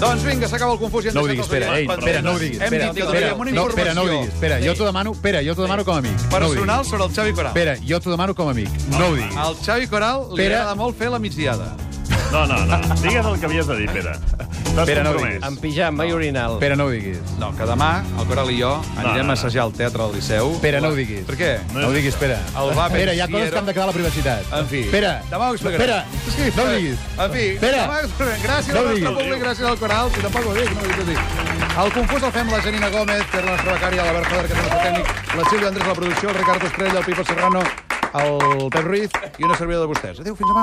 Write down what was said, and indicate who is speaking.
Speaker 1: Doncs vinga, s'acaba el confús. i ens
Speaker 2: No ho
Speaker 1: deixem els
Speaker 2: diguis, espera, ei,
Speaker 1: oients
Speaker 2: espera, no ho diguis.
Speaker 1: Hem
Speaker 2: Espera,
Speaker 1: dit que
Speaker 2: espera,
Speaker 1: donaríem una
Speaker 2: no, espera, no ho
Speaker 1: informació.
Speaker 2: diguis. Espera, jo t'ho demano, espera, jo t'ho demano com a amic. No ho
Speaker 1: Personal Ah.
Speaker 2: diguis.
Speaker 1: sobre el Xavi Coral.
Speaker 2: Espera, jo t'ho demano com a amic. No ho diguis.
Speaker 1: Al Xavi Coral li
Speaker 2: Pere.
Speaker 1: agrada molt fer la migdiada.
Speaker 3: No, no, no. Digues el que havies de dir, Pere. T'has
Speaker 2: Pere, no
Speaker 3: compromès.
Speaker 4: En pijama i orinal.
Speaker 2: Espera, no ho diguis.
Speaker 1: No, que demà el Coral i jo anirem
Speaker 3: no, no.
Speaker 1: a assajar al Teatre del Liceu.
Speaker 2: Espera, no ho diguis.
Speaker 1: Per què?
Speaker 2: No ho diguis, espera.
Speaker 1: El va
Speaker 2: Espera, hi ha
Speaker 1: Pensiero.
Speaker 2: coses que han de quedar a la privacitat.
Speaker 1: En fi.
Speaker 2: Espera,
Speaker 1: Demà ho explicarem.
Speaker 2: espera,
Speaker 1: És que,
Speaker 2: no ho diguis.
Speaker 1: En fi,
Speaker 2: Espera.
Speaker 1: demà ho explicarem. Gràcies al
Speaker 2: No ho
Speaker 1: nostre
Speaker 2: diguis.
Speaker 1: públic, gràcies al Coral. Si tampoc ho dic, no ho dic, ho dic. El confús el fem la Janina Gómez, que és la nostra becària, l'Albert Fader, que és el nostre tècnic, la Sílvia Andrés, la producció, el Ricardo Estrella, el Pipa Serrano, el Pep Ruiz i una servidora de vostès. Adéu, fins demà.